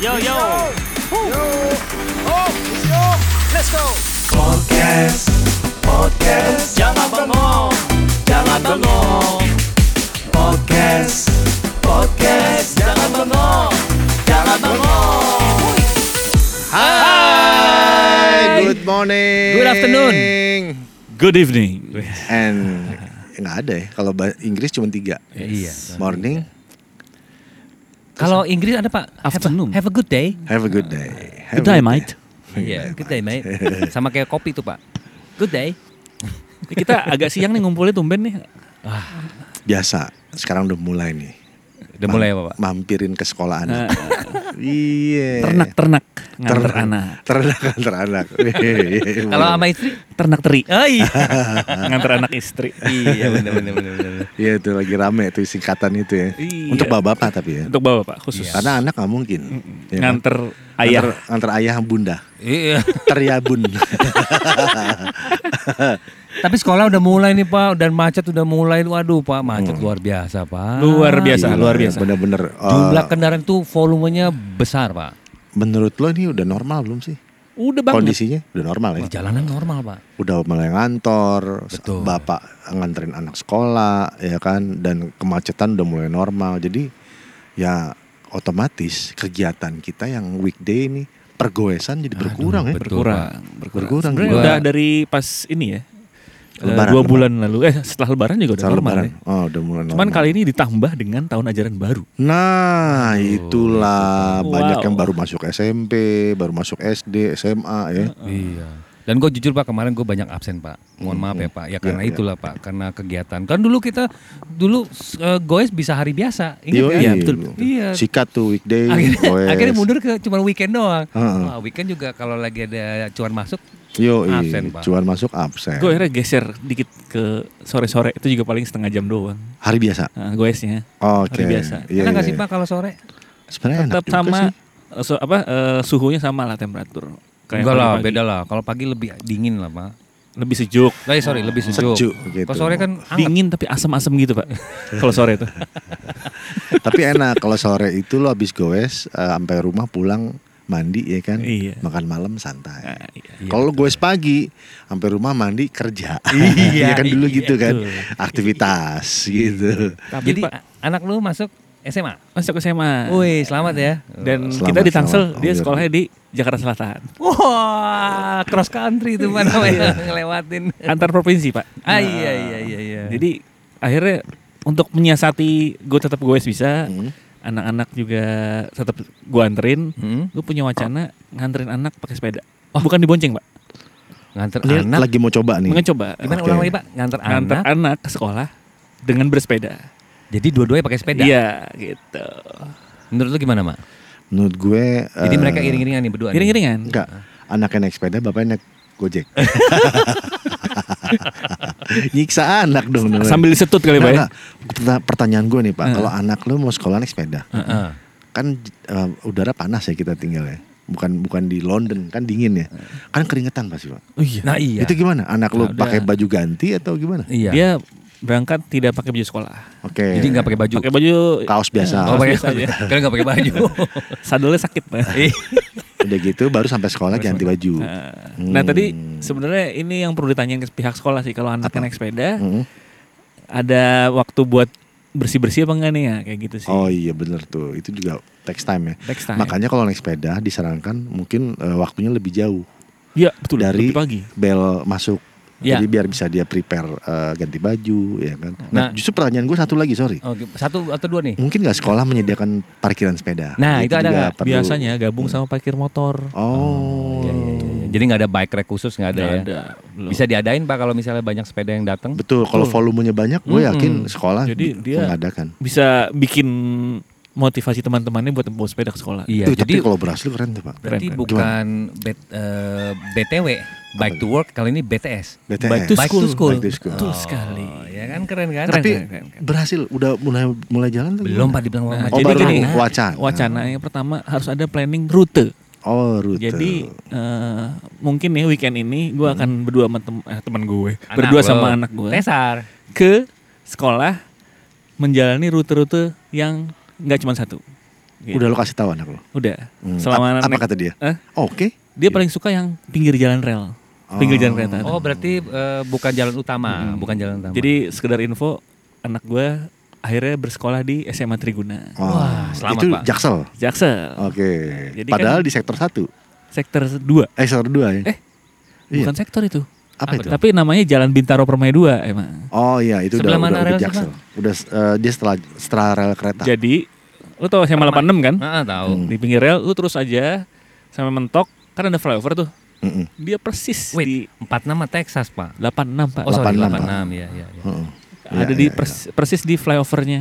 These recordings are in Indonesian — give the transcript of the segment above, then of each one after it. Yo yo. Oh, Let's go. Podcast, podcast, Jangan bengong. Jangan bengong. podcast, podcast, Jangan bengong. Jangan bengong. Hai, good morning. Good afternoon. Good evening. And nggak ada ya kalau bah- Inggris cuma tiga. Iya. Morning, Kalau Inggris ada Pak. Afternoon. Have a, have a good day. have a good day. Have Good day, a mate. Iya, good day mate. Sama kayak kopi tuh Pak. Good day. Ini Eh, Kita agak siang nih ngumpulnya tumben nih. Biasa. Sekarang udah mulai nih. Udah mulai apa Pak? Mampirin ke Eh, sekolah anak. Iya. Ternak-ternak nganter Ternak- anak. Ternak antar anak. Iya, Kalau sama istri? Ternak teri. Oh iya. Nganter anak istri. iya bener bener bener. bener. Iya itu lagi rame tuh singkatan itu ya. Iya. Untuk bapak tapi ya. Untuk bawa Pak khusus. Karena anak nggak mungkin. Ya Iya. kan? Nganter ayah. Antar, antar ayah bunda. Iya. Teriabun. Tapi sekolah udah mulai nih Pak dan macet udah mulai. Waduh Pak, macet luar biasa Hmm. Pak. Iya. Luar biasa, luar biasa. Iya, Bener-bener. eh, Jumlah kendaraan tuh volumenya besar Pak. menurut lo ini udah normal belum sih? Udah banget. Kondisinya udah normal ya? Di jalanan normal Pak. udah mulai ngantor, bapak nganterin anak sekolah, ya kan, dan kemacetan udah mulai normal. Jadi ya otomatis kegiatan kita yang weekday ini pergoesan jadi berkurang ya. betul, Pak. Berkurang Sebenarnya juga. udah dari pas ini ya. eh, Lebaran, dua lebaran. bulan lalu eh setelah lebaran juga udah Setelah normal lebaran. ya. Oh, udah mulai normal. Cuman kali ini ditambah dengan tahun ajaran baru. Nah, itulah Wow. banyak yang baru masuk SMP, baru masuk SD, SMA ya. Iya. Dan gue jujur pak kemarin gue banyak absen pak. Mohon maaf ya pak. Ya karena Iya, itulah pak. Karena kegiatan. Kan dulu kita dulu eh, goes bisa hari biasa. Ingat Yoi, kan? iya, Iya. Sikat tuh weekday, Akhirnya, goes. akhirnya mundur ke cuma weekend doang. Heeh. Wah, weekend juga kalau lagi ada cuan masuk. Yoi, Absen, Pak. cuan masuk absen. Iya. Gue akhirnya geser dikit ke sore-sore itu juga paling setengah jam doang. Hari biasa. Nah, goesnya. Oke. Hari biasa. Iya, Enak nggak iya, sih iya. pak kalau sore? Sebenarnya enak Tetap juga sama sih. eh, so- apa eh, suhunya sama lah temperatur. Kayak Enggak lah, pagi-pagi. beda lah. Kalau pagi lebih dingin lah pak. Lebih sejuk. Lah, ya, sorry, lebih sejuk. Sejuk, gitu. Kalau sore kan anget. Dingin tapi asam-asam gitu, Pak. Kalau sore itu. Tapi enak kalau sore itu lo habis goes eh, sampai rumah pulang mandi ya kan. Iya. Makan malam santai. Nah, iya. Kalau lo goes pagi sampai rumah mandi kerja. Iya kan dulu gitu kan. Aktivitas gitu. Tapi Jadi Pak, a- anak lu masuk SMA. masuk ke SMA. Wih, selamat ya. Dan Selamat, kita di Tangsel, dia selamat. Alhamdulillah. sekolahnya di Jakarta Selatan. Wah, cross country itu Iya. mana namanya ngelewatin. Antar provinsi, Pak. Nah, Ah iya iya iya iya. Iya. Jadi akhirnya untuk menyiasati gue tetap gue bisa, Hmm. anak-anak juga tetap gue anterin. Hmm? Gue punya wacana nganterin anak pakai sepeda. Bukan dibonceng pak, nganter Ini anak. lagi mau coba nih. mencoba Gimana Oke. ulang lagi, Pak? Nganter nganter anak. anak. ke sekolah dengan bersepeda. Jadi dua-duanya pakai sepeda. Iya gitu. Menurut lu gimana, Mak? Menurut gue Jadi eh, mereka iring-iringan nih berdua. nih. Iring-iringan. Enggak. Anaknya naik sepeda, bapaknya naik Gojek. Nyiksa anak dong. namanya. Sambil disetut kali pak ya. Nah, nah, pertanyaan gue nih Pak, kalau anak lu mau sekolah naik sepeda, Heeh. kan eh, udara panas ya kita tinggal ya. Bukan bukan di London, kan dingin ya. Kan keringetan pasti, Pak. Oh, iya. Nah, iya. Itu gimana? Anak lu Nah, udah. pakai baju ganti atau gimana? iya. Dia berangkat tidak pakai baju sekolah. Oke. Jadi nggak pakai baju. Pakai Iya, baju kaos biasa. Oh, pakai biasa aja. Kan nggak pakai baju. sadelnya sakit. Pak. Udah gitu baru sampai sekolah ganti baju. Nah, Nah Hmm. tadi sebenarnya ini yang perlu ditanyain ke pihak sekolah sih kalau anaknya Apa? naik sepeda Mm. ada waktu buat bersih-bersih apa enggak nih ya kayak gitu sih. Oh iya bener tuh. Itu juga text time ya. Next time. Makanya kalau naik sepeda disarankan mungkin eh, waktunya lebih jauh Iya, betul. dari lebih pagi. bel masuk. Ya. Jadi biar bisa dia prepare eh, ganti baju ya kan. Nah, Nah. justru pertanyaan gue satu lagi, sorry. Oh, gitu. satu atau dua nih? Mungkin nggak sekolah menyediakan parkiran sepeda. Nah, itu ada juga nggak? perlu- Biasanya gabung sama parkir motor. Oh. Iya, iya, iya. Jadi nggak ada bike rack khusus nggak ada Nggak ya? Bisa diadain Pak kalau misalnya banyak sepeda yang datang. Betul, kalau volumenya banyak gue yakin sekolah Jadi bi- dia- mengadakan. Bisa bikin motivasi teman-temannya buat bawa sepeda ke sekolah. Iya, Tuh, jadi tapi kalau berhasil keren tuh, Pak. berarti Keren, keren. bukan bet- eh, BTW, bike to work kali ini BTS. BTS. Back to Bike school. to school. Back to school. Betul sekali. ya kan keren kan? Tapi berhasil udah mulai mulai jalan tuh. belum gimana? Pak dibilang Nah, wacana. Oh, Jadi baru gini, wacana. Wacana yang pertama harus ada planning rute. Oh, rute. Jadi eh, mungkin nih weekend ini Hmm. gue akan berdua sama tem- eh, teman gue, Anak berdua lo. sama anak gue Tesar. ke sekolah menjalani rute-rute yang nggak cuma satu. Gitu. Udah lo kasih tahu anak lo. Udah. Hmm. Selama Ap- apa naik- kata dia? Hah? Oke. Dia paling suka yang pinggir jalan rel. Pinggir jalan kereta. Oh berarti eh, bukan jalan utama, bukan jalan Hmm. utama. Jadi sekedar info, anak gue akhirnya bersekolah di SMA Triguna. Oh. Wah, selamat, itu Pak. Jaksel. Jaksel. Oke. Jadi Padahal kan- di sektor 1. Sektor 2. Eh sektor 2 ya. Eh, Iya. Bukan sektor itu. apa, itu? Tapi namanya Jalan Bintaro Permai 2 emang. Oh iya, itu udah Sebelah udah, mana udah rel sih, Jaksel. Udah eh, dia setelah setelah rel kereta. Jadi, lu tau SMA 86 kan? Ah, tahu. Hmm. Di pinggir rel, lu terus aja sampai mentok. Kan ada flyover tuh. Mm-mm. Dia persis di Wait, empat nama Texas pak. 86 pak. Hmm. Oh 86, sorry, delapan Pak. enam ya, ya, ya. Mm-mm. ada Iya, di iya, pers- persis di flyovernya.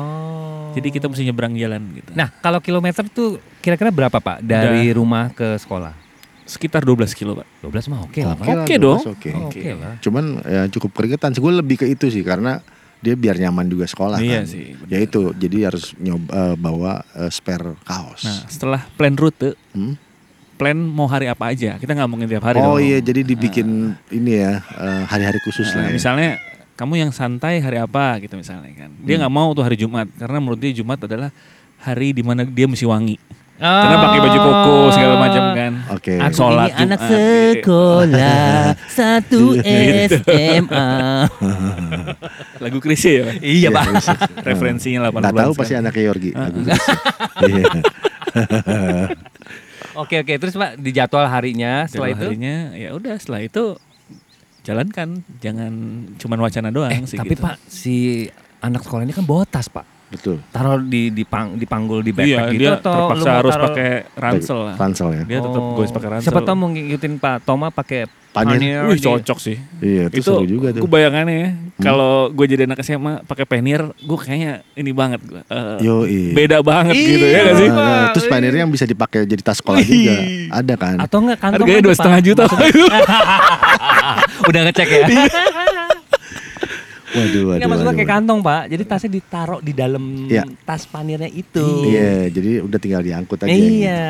Oh. Jadi kita mesti nyebrang jalan gitu. Nah kalau kilometer tuh kira-kira berapa pak dari rumah ke sekolah? sekitar 12 kilo pak. 12 mah oke lah pak. Oke lah, dong. 12 Oke. Oke lah. Cuman ya cukup keringetan sih. Gue lebih ke itu sih karena dia biar nyaman juga sekolah Iya kan. sih, benar. Ya itu, jadi harus nyoba eh, bawa eh, spare kaos. Nah setelah plan rute, Hmm? plan mau hari apa aja. Kita nggak mungkin tiap hari. dong. Ah. oh iya, jadi dibikin ini ya eh, hari-hari khusus Nah, lah. Ya. Misalnya kamu yang santai hari apa gitu misalnya kan. Dia Hmm. nggak mau tuh hari Jumat karena menurut dia Jumat adalah hari dimana dia mesti wangi. Karena pakai baju koko segala macam kan. Oh. Oke. Aku Aku Sholat ini anak Jumat. Iya. sekolah satu SMA. Lagu Krisye ya. Pak? Iya pak. Referensinya 8 Nggak tahu pasti anaknya Yorgi. Ah. Lagu Krisye. Iya. Oke oke terus pak di jadwal harinya setelah itu. harinya ya udah setelah itu jalankan jangan cuman wacana doang sih Eh, Tapi gitu. pak si anak sekolah ini kan bawa tas pak. Betul. Taruh di di pang, dipanggul di backpack Iya, gitu dia atau lu terpaksa mau harus taruh- pakai ransel lah. Ransel ya. Dia tetap Oh, gue pakai ransel. Siapa tau mau ngikutin Pak Toma pakai Panir. Wih di- cocok sih. Iya, itu, seru juga tuh. Hmm. Gue bayangannya ya, kalau gue jadi anak SMA pakai panir, gue kayaknya ini banget. gua, eh, Yoi. beda banget gitu ya gak sih? Nah, nah, terus panernya yang bisa dipakai jadi tas sekolah juga. Ada kan? Atau enggak kantong Harganya ada, dua Pak. eh, setengah juta. Udah ngecek Iya, ya. Waduh, waduh. Enggak maksud gua waduh, kayak waduh. kantong, Pak. Jadi tasnya ditaruh di dalam Iya. tas panirnya itu. Iya, jadi udah tinggal diangkut aja. Iya.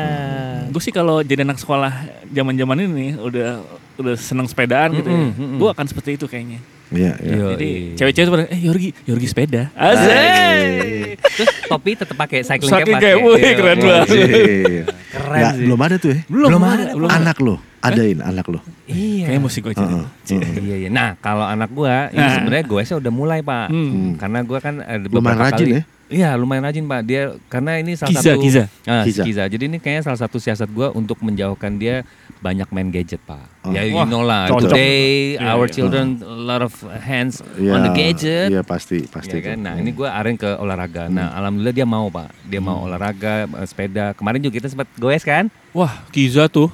gue sih kalau jadi anak sekolah zaman zaman ini nih, udah udah seneng sepedaan gitu ya, Mm-mm, mm-mm. gue akan seperti itu kayaknya. Iya, iya. Jadi cewek-cewek tuh pada, eh Yorgi, Yorgi sepeda. Nah, Iya. Asik. Terus topi tetap pakai cycling cap. Cycling pakai. cap, wih, Iya, keren iya. banget. Iya. Keren Nggak, sih. belum ada tuh ya. Belum, ada. Belum ada. anak lo, adain anak lo. Iya. Kayaknya mesti gue jadi. Heeh, heeh. Iya, iya. Nah, kalau anak gua ini Gitu. Nah. sebenarnya gue sih udah mulai, Pak. Hmm. Karena gua kan ada beberapa Lumayan rajin kali. ya? Iya, lumayan rajin, Pak. Dia karena ini salah Kiza, satu Kiza. Ah, si Kiza. Kiza. Jadi ini kayaknya salah satu siasat gua untuk menjauhkan dia banyak main gadget, Pak. Oh. Ya, you Wah, know lah. cocok. Today Iya, our iya. children a lot of hands Iya, on the gadget. Iya pasti, pasti. Iya kan? tuh. Nah ini gue aren ke olahraga. Hmm. Nah alhamdulillah dia mau pak, dia mau olahraga, eh, sepeda. Kemarin juga kita sempat goes kan? Wah, Kiza tuh.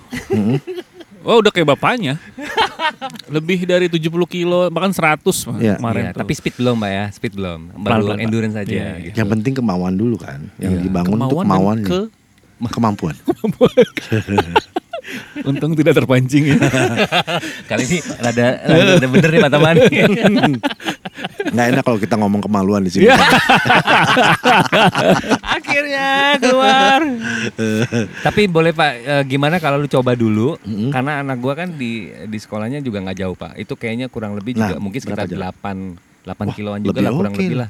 Wah, udah kayak bapaknya. Lebih dari 70 kilo, bahkan 100 mah Iya. kemarin. Iya, tuh. tapi speed belum pak ya, speed belum. Baru Pelan-pelan, Pak. endurance aja. Iya, iya. gitu. Yang penting kemauan dulu kan. Yang Iya. dibangun tuh Kemauan dan kemauannya. ke- kemampuan. untung tidak terpancing ya. Kali ini ada ada bener nih Pak Taman. Nggak enak kalau kita ngomong kemaluan di sini. Iya. Akhirnya keluar. Tapi boleh Pak, eh, gimana kalau lu coba dulu? Mm-hmm. Karena anak gua kan di di sekolahnya juga nggak jauh Pak. Itu kayaknya kurang lebih Nah, juga mungkin sekitar berapa jarak? 8 8 Wah, kiloan juga lebih lah kurang oke lebih lah. lah.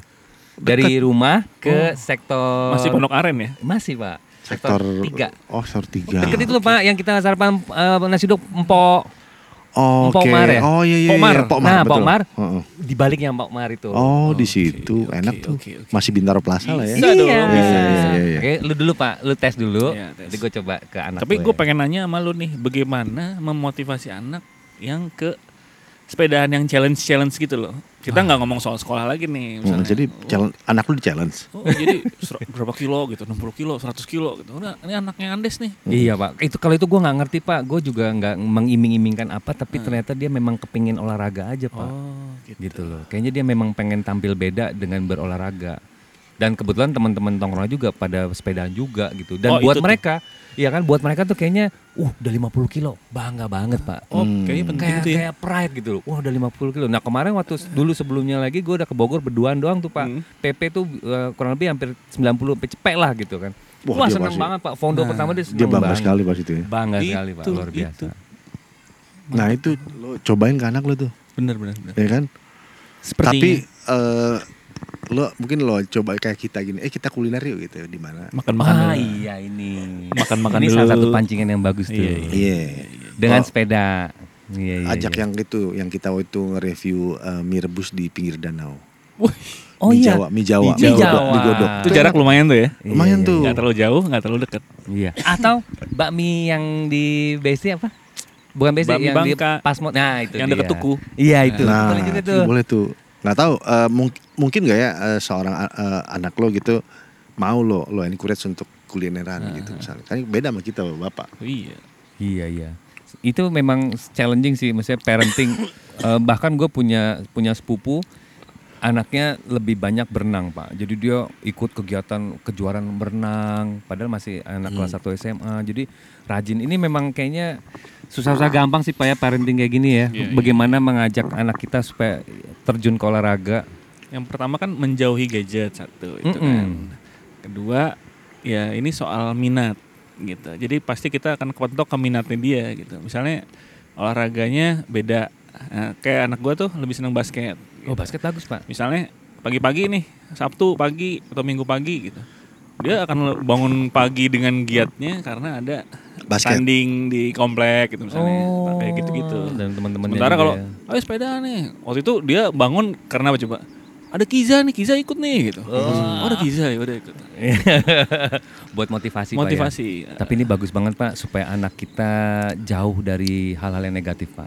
Dari rumah ke sektor Masih pondok aren ya? Masih Pak. Sektor tiga. Oh, sektor tiga. Deket itu loh Pak yang kita sarapan eh, nasi uduk empok. Oke. Pomar ya? Oh iya iya. Pomar. iya, Pomar, nah, betul. Pak Omar Heeh. di baliknya Pak Omar itu. Oh, di situ oke, enak tuh. oke, oke. Masih Bintaro Plaza lah ya. Bisa dong, Iya. bisa. Iya, iya, iya. Oke, lu dulu Pak, lu tes dulu. Iya, tes. Nanti gue coba ke anak ya. Tapi gue gue pengen nanya sama lu nih, bagaimana memotivasi anak yang ke sepedaan yang challenge-challenge gitu loh. Kita nggak ngomong soal sekolah lagi nih. Hmm, Misalnya. jadi challenge- anak lu di challenge. Oh, jadi ser- berapa kilo gitu, 60 kilo, 100 kilo gitu. Udah, ini anaknya Andes nih. Iya Pak, itu kalau itu gue nggak ngerti Pak, gue juga nggak mengiming-imingkan apa, tapi ternyata dia memang kepingin olahraga aja Pak, Hmm. Oh, gitu. gitu loh. Kayaknya dia memang pengen tampil beda dengan berolahraga. Dan kebetulan teman-teman tongkrong juga pada sepedaan juga gitu. Dan Oh, itu buat tuh. mereka, iya kan, buat mereka tuh kayaknya, uh udah 50 kilo, bangga banget Pak. Oh, kayaknya penting Kayak, tuh ya. kayak pride gitu loh. Wah udah 50 kilo. Nah kemarin waktu s- dulu sebelumnya lagi gue udah ke Bogor berduaan doang tuh Hmm. pak. PP tuh eh, kurang lebih hampir 90 sampai cepek lah gitu kan. Wah, Wah, dia seneng masih- banget pak. Fondo Nah, pertama dia seneng Dia bangga banget. sekali pas itu ya. Bangga sekali pak, Itu, luar biasa. itu. Nah itu lo cobain ke anak lo tuh, Bener, bener, bener. ya kan? Sepertinya. Tapi eh, lo mungkin lo coba kayak kita gini eh kita kuliner yuk gitu di mana Makan-makan Ah dulu. iya ini. Makan-makan ini dulu. salah satu pancingan yang bagus tuh. Iya, iya Oh, Dengan sepeda. Iya, iya, ajak iya. yang itu yang kita waktu itu nge-review eh, mie rebus di pinggir danau Oh mie iya. Jawa, mie Jawa, Mie digodok, Jawa. digodok. Itu jarak lumayan tuh ya. lumayan Iya, tuh. Nggak terlalu jauh, nggak terlalu dekat. Iya. Atau bakmi yang di BC apa? Bukan BC Bakmi yang di Bangka. Pasmod. Nah, itu Yang dia. dekat Tuku. Iya, itu. Nah, boleh juga itu tuh. boleh tuh. Nggak tahu eh, mung- mungkin nggak ya eh, seorang a- eh, anak lo gitu mau lo lo encourage untuk kulineran Nah, gitu misalnya. Kan beda sama kita Bapak. Iya. Iya iya. Itu memang challenging sih, maksudnya parenting. Eh, bahkan gue punya punya sepupu anaknya lebih banyak berenang pak. Jadi dia ikut kegiatan kejuaraan berenang, padahal masih anak kelas 1 SMA. Jadi rajin. Ini memang kayaknya susah-susah gampang sih pak ya parenting kayak gini ya. Bagaimana mengajak anak kita supaya terjun ke olahraga. Yang pertama kan menjauhi gadget satu itu Mm-mm. kan. Kedua ya ini soal minat gitu. Jadi pasti kita akan kepatok ke minatnya dia gitu. Misalnya olahraganya beda. Nah, kayak anak gua tuh lebih seneng basket. Oh gitu. basket bagus pak. Misalnya pagi-pagi nih Sabtu pagi atau Minggu pagi gitu. Dia akan bangun pagi dengan giatnya karena ada Basket. tanding di komplek gitu misalnya. Kayak gitu-gitu. Dan teman-temannya. Sementara juga kalau ya. ayo sepeda nih. Waktu itu dia bangun karena apa coba? Ada Kiza nih, Kiza ikut nih gitu. Oh, ada Kiza ya udah ikut. buat motivasi, Pak, ya. Motivasi. Tapi ini bagus banget Pak supaya anak kita jauh dari hal-hal yang negatif Pak.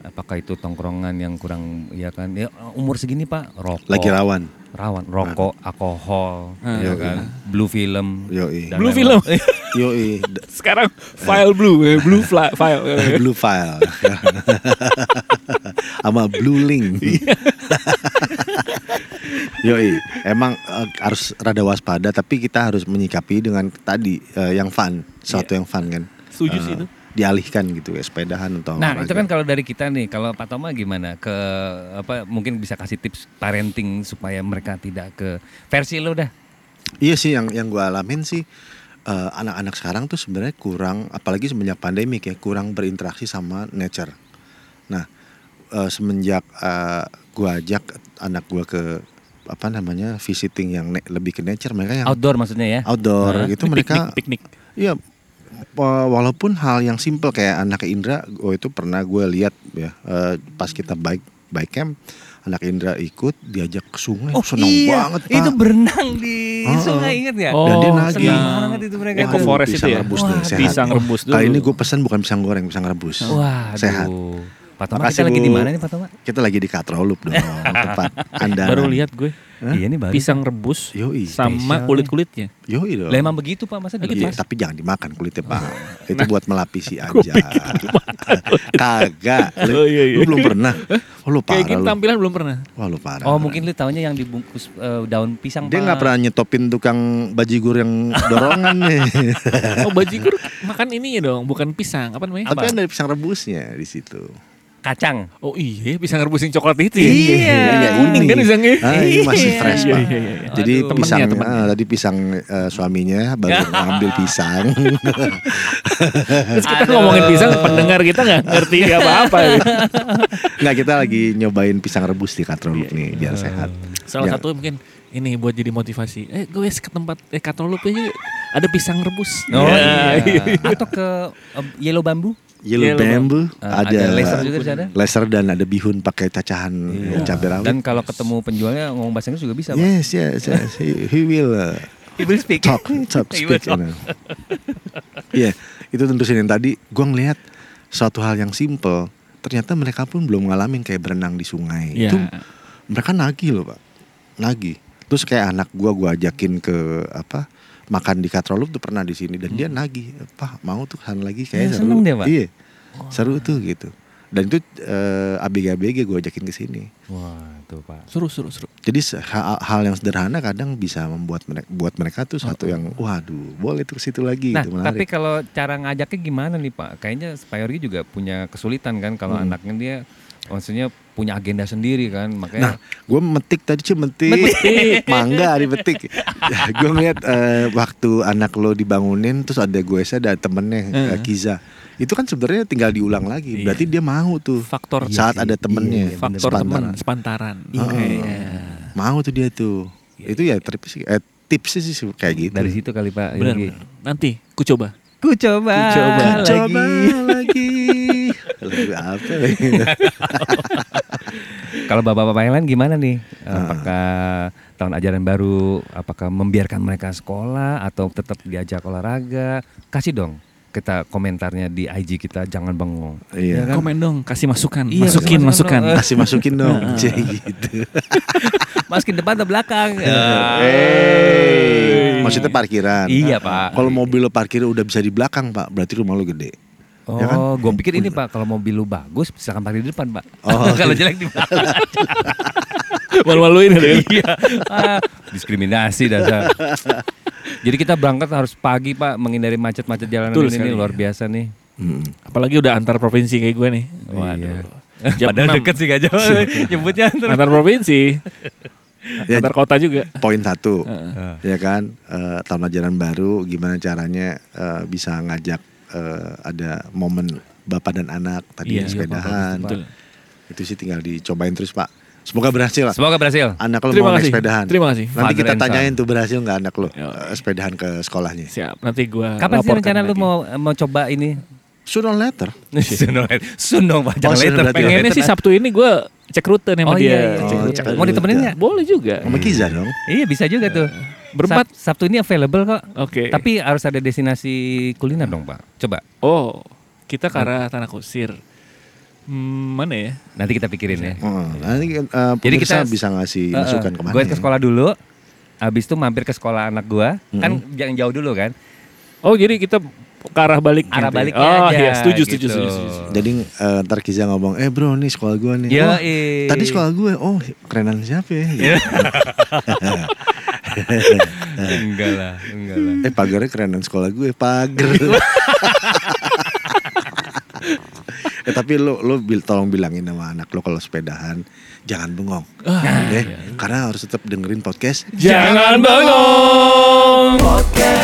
Apakah itu tongkrongan yang kurang ya kan ya umur segini Pak rokok. Lagi Nah. iya. rawan. Rawan rokok, alkohol, Ah, ya kan. Blue film. Yoi. dan Blue lain-lain. film. Yoi, d- Sekarang file blue, eh, blue fla- file. eh. blue file. Sama blue link. Yoi, emang eh, harus rada waspada tapi kita harus menyikapi dengan tadi eh, yang fun, satu Iya. yang fun kan. Setuju Eh, sih itu. Dialihkan gitu ya sepedahan atau Nah, itu olahraga. kan kalau dari kita nih, kalau Pak Toma gimana? Ke apa mungkin bisa kasih tips parenting supaya mereka tidak ke versi lo dah. Iya sih yang yang gue alamin sih eh, anak-anak sekarang tuh sebenarnya kurang apalagi semenjak pandemi ya kurang berinteraksi sama nature. Nah eh, semenjak gue ajak anak gue ke apa namanya visiting yang ne- lebih ke nature mereka yang Outdoor maksudnya ya. outdoor itu gitu mereka piknik, piknik. Iya, wa- walaupun hal yang simple kayak anak Indra, oh itu pernah gue lihat ya eh, pas kita bike bike camp, anak Indra ikut diajak ke sungai, seneng banget pak. Oh, iya. Itu berenang di Heeh. sungai ingat ya? Oh, Dan dia seneng nagih. banget itu mereka. Eco Iya, tuh. forest itu pisang ya? rebus nih, Wah, sehat. pisang rebus dulu. Kali ini gue pesan bukan pisang goreng, pisang rebus. Wah, sehat. Pak Makasih, Toma kita lagi Bu. di mana nih Pak Toma? Kita lagi di Katrolup dong, tempat Anda. Baru lihat gue. Iya nih baru. Pisang rebus Yoi. sama kulit-kulitnya. Yoi dong. Lah emang begitu ya? Pak, masa Iya, dilepas? tapi jangan dimakan kulitnya pak. Nah. Itu buat melapisi aja. Kagak. gitu, Oh, iya, iya. Lu belum pernah. Oh, lu parah Kayak gini lu. tampilan belum pernah. Wah lu parah. Oh mungkin lu taunya yang dibungkus eh, daun pisang Dia Pak. nggak pernah nyetopin tukang bajigur yang dorongan nih. Oh, bajigur makan ini ya dong, bukan pisang. Apa namanya? Tapi kan dari pisang rebusnya di situ. Kacang. Oh iya, pisang rebus yang coklat itu ya? Iya. Yang kuning kan pisangnya. Ah, ini masih fresh Iya, pak. iya, iya. Jadi Aduh. pisang Temennya, temennya. ah, tadi pisang eh, suaminya baru ngambil pisang. Terus kita ngomongin pisang, pendengar kita nggak ngerti Iya. apa-apa. Nggak kita lagi nyobain pisang rebus di Katroluk Iya, nih biar sehat. Salah Ya. satu mungkin ini buat jadi motivasi. Eh, gue wes ke tempat eh katolop aja ada pisang rebus. Oh Ya. iya. Atau ke eh, yellow bambu? Yellow Yellow bambu Ah, ada, ada laser juga di sana? Iya. laser dan ada bihun pakai cacahan cabai rawit. Dan kalau ketemu penjualnya ngomong bahasa Inggris juga bisa Pak. yes, yes, yes. He, he will uh, He will speak. talk, talk, speak. you know. Iya, itu tentu sih yang tadi gua ngelihat suatu hal yang simple. Ternyata mereka pun belum ngalamin kayak berenang di sungai. Iya. Itu mereka nagih loh pak, nagih. Terus kayak anak gua gua ajakin ke apa makan di Katrolub tuh pernah di sini dan dia nagih, pak mau tuh kan lagi kayak Ya, seru. Hmm. seneng dia, Pak. Iya, seru tuh gitu. Dan itu eh, abg-abg gue ajakin ke sini. Wah, tuh Pak. Suruh, suruh, suruh. Jadi se- ha- hal yang sederhana kadang bisa membuat mereka, buat mereka tuh satu yang waduh boleh terus situ lagi Nah, gitu, tapi menarik. kalau cara ngajaknya gimana nih Pak? Kayaknya Spyori juga punya kesulitan kan kalau anaknya dia maksudnya punya agenda sendiri kan, Nah, makanya gue metik tadi cuy metik, mangga dipetik. gue ngeliat eh, waktu anak lo dibangunin terus ada gue ada temennya eh, Kiza. Itu kan sebenarnya tinggal diulang lagi. Berarti dia mau tuh Faktor Iya Iya saat ada temennya. faktor Sepantaran. teman sepantaran. Heeh. Iya. Mau tuh dia tuh. Itu ya trip sih, eh, tipsnya sih kayak gitu. Dari situ kali Pak. Benar, benar. Nanti ku coba. Ku coba, Kucoba. lagi. Coba lagi. Lagu apa? ya? Kalau bapak-bapak yang lain gimana nih? Apakah tahun ajaran baru, apakah membiarkan mereka sekolah atau tetap diajak olahraga? Kasih dong kita komentarnya di IG kita jangan bengong. Iya. Ya kan? Komen dong, kasih masukan, Iya, masukin, kasih masukan masukan. dong. Kasih masukin dong, J gitu. Masukin depan atau belakang? Eh. Hey. Maksudnya parkiran. Iya, Pak. Kalau mobil lo parkir udah bisa di belakang pak, berarti rumah lo gede. Oh, Ya kan? gue pikir ini Pak, kalau mobil lu bagus silakan parkir di depan, Pak. Oh. kalau jelek di belakang. Malu-maluin gitu. iya. Ah, diskriminasi dasar. Jadi kita berangkat harus pagi, Pak, menghindari macet-macet jalanan Betul ini, sekali. ini luar biasa nih. Apalagi udah antar provinsi kayak gue nih. Iya. Jam enam. Padahal deket sih gak jauh. Nyebutnya antara- Antar provinsi, Ya, antar kota juga. poin satu, ya kan eh, tahun ajaran baru, gimana caranya eh, bisa ngajak eh, ada momen bapak dan anak tadi Iya, iya, sepedahan. Betul. itu sih tinggal dicobain terus pak. Semoga berhasil. lah. Semoga berhasil. Anak lo Terima mau naik kasih. sepedahan. Terima kasih. Nanti Father kita and tanyain tuh berhasil nggak anak lo Yo. eh, sepedahan ke sekolahnya. Siap, nanti gue Kapan sih rencana lu mau mau coba ini? Soon or later. Soon dong, soon dong Pak. Jangan Oh, soon later. berarti. Pengennya sih Sabtu ini gue cek rute nih sama Oh dia. iya, Cek iya, iya. Oh, rute. cek Mau ditemenin rute. nggak? Boleh juga. Sama Kiza dong. Iya bisa juga tuh. Berempat. Sab- Sabtu ini available kok. Oke. Tapi harus ada destinasi kuliner dong Pak. Coba Oh, kita ke arah Tanah Kusir. Hmm, mana ya? nanti kita pikirin ya. Heeh, nanti eh, Jadi pemirsa kita- bisa ngasih masukan kemana. ya? Gue ke sekolah dulu. Habis itu mampir ke sekolah anak gua. Kan jangan jauh dulu kan. Oh, jadi kita ke arah balik. Arah nanti. baliknya Oh, aja, iya, setuju, setuju, gitu. setuju, setuju. Jadi eh, ntar Kiza ngomong, eh bro nih sekolah gue nih. Yo, Wah, eh. tadi sekolah gue, oh kerenan siapa ya? Iya. Gitu. enggak lah, enggak lah. eh pagarnya kerenan sekolah gue, Iya. pagar. eh tapi lo lo bil- tolong bilangin sama anak lo kalau sepedahan jangan bengong, Ah, iya, eh, karena harus tetap dengerin podcast Jangan bangun. podcast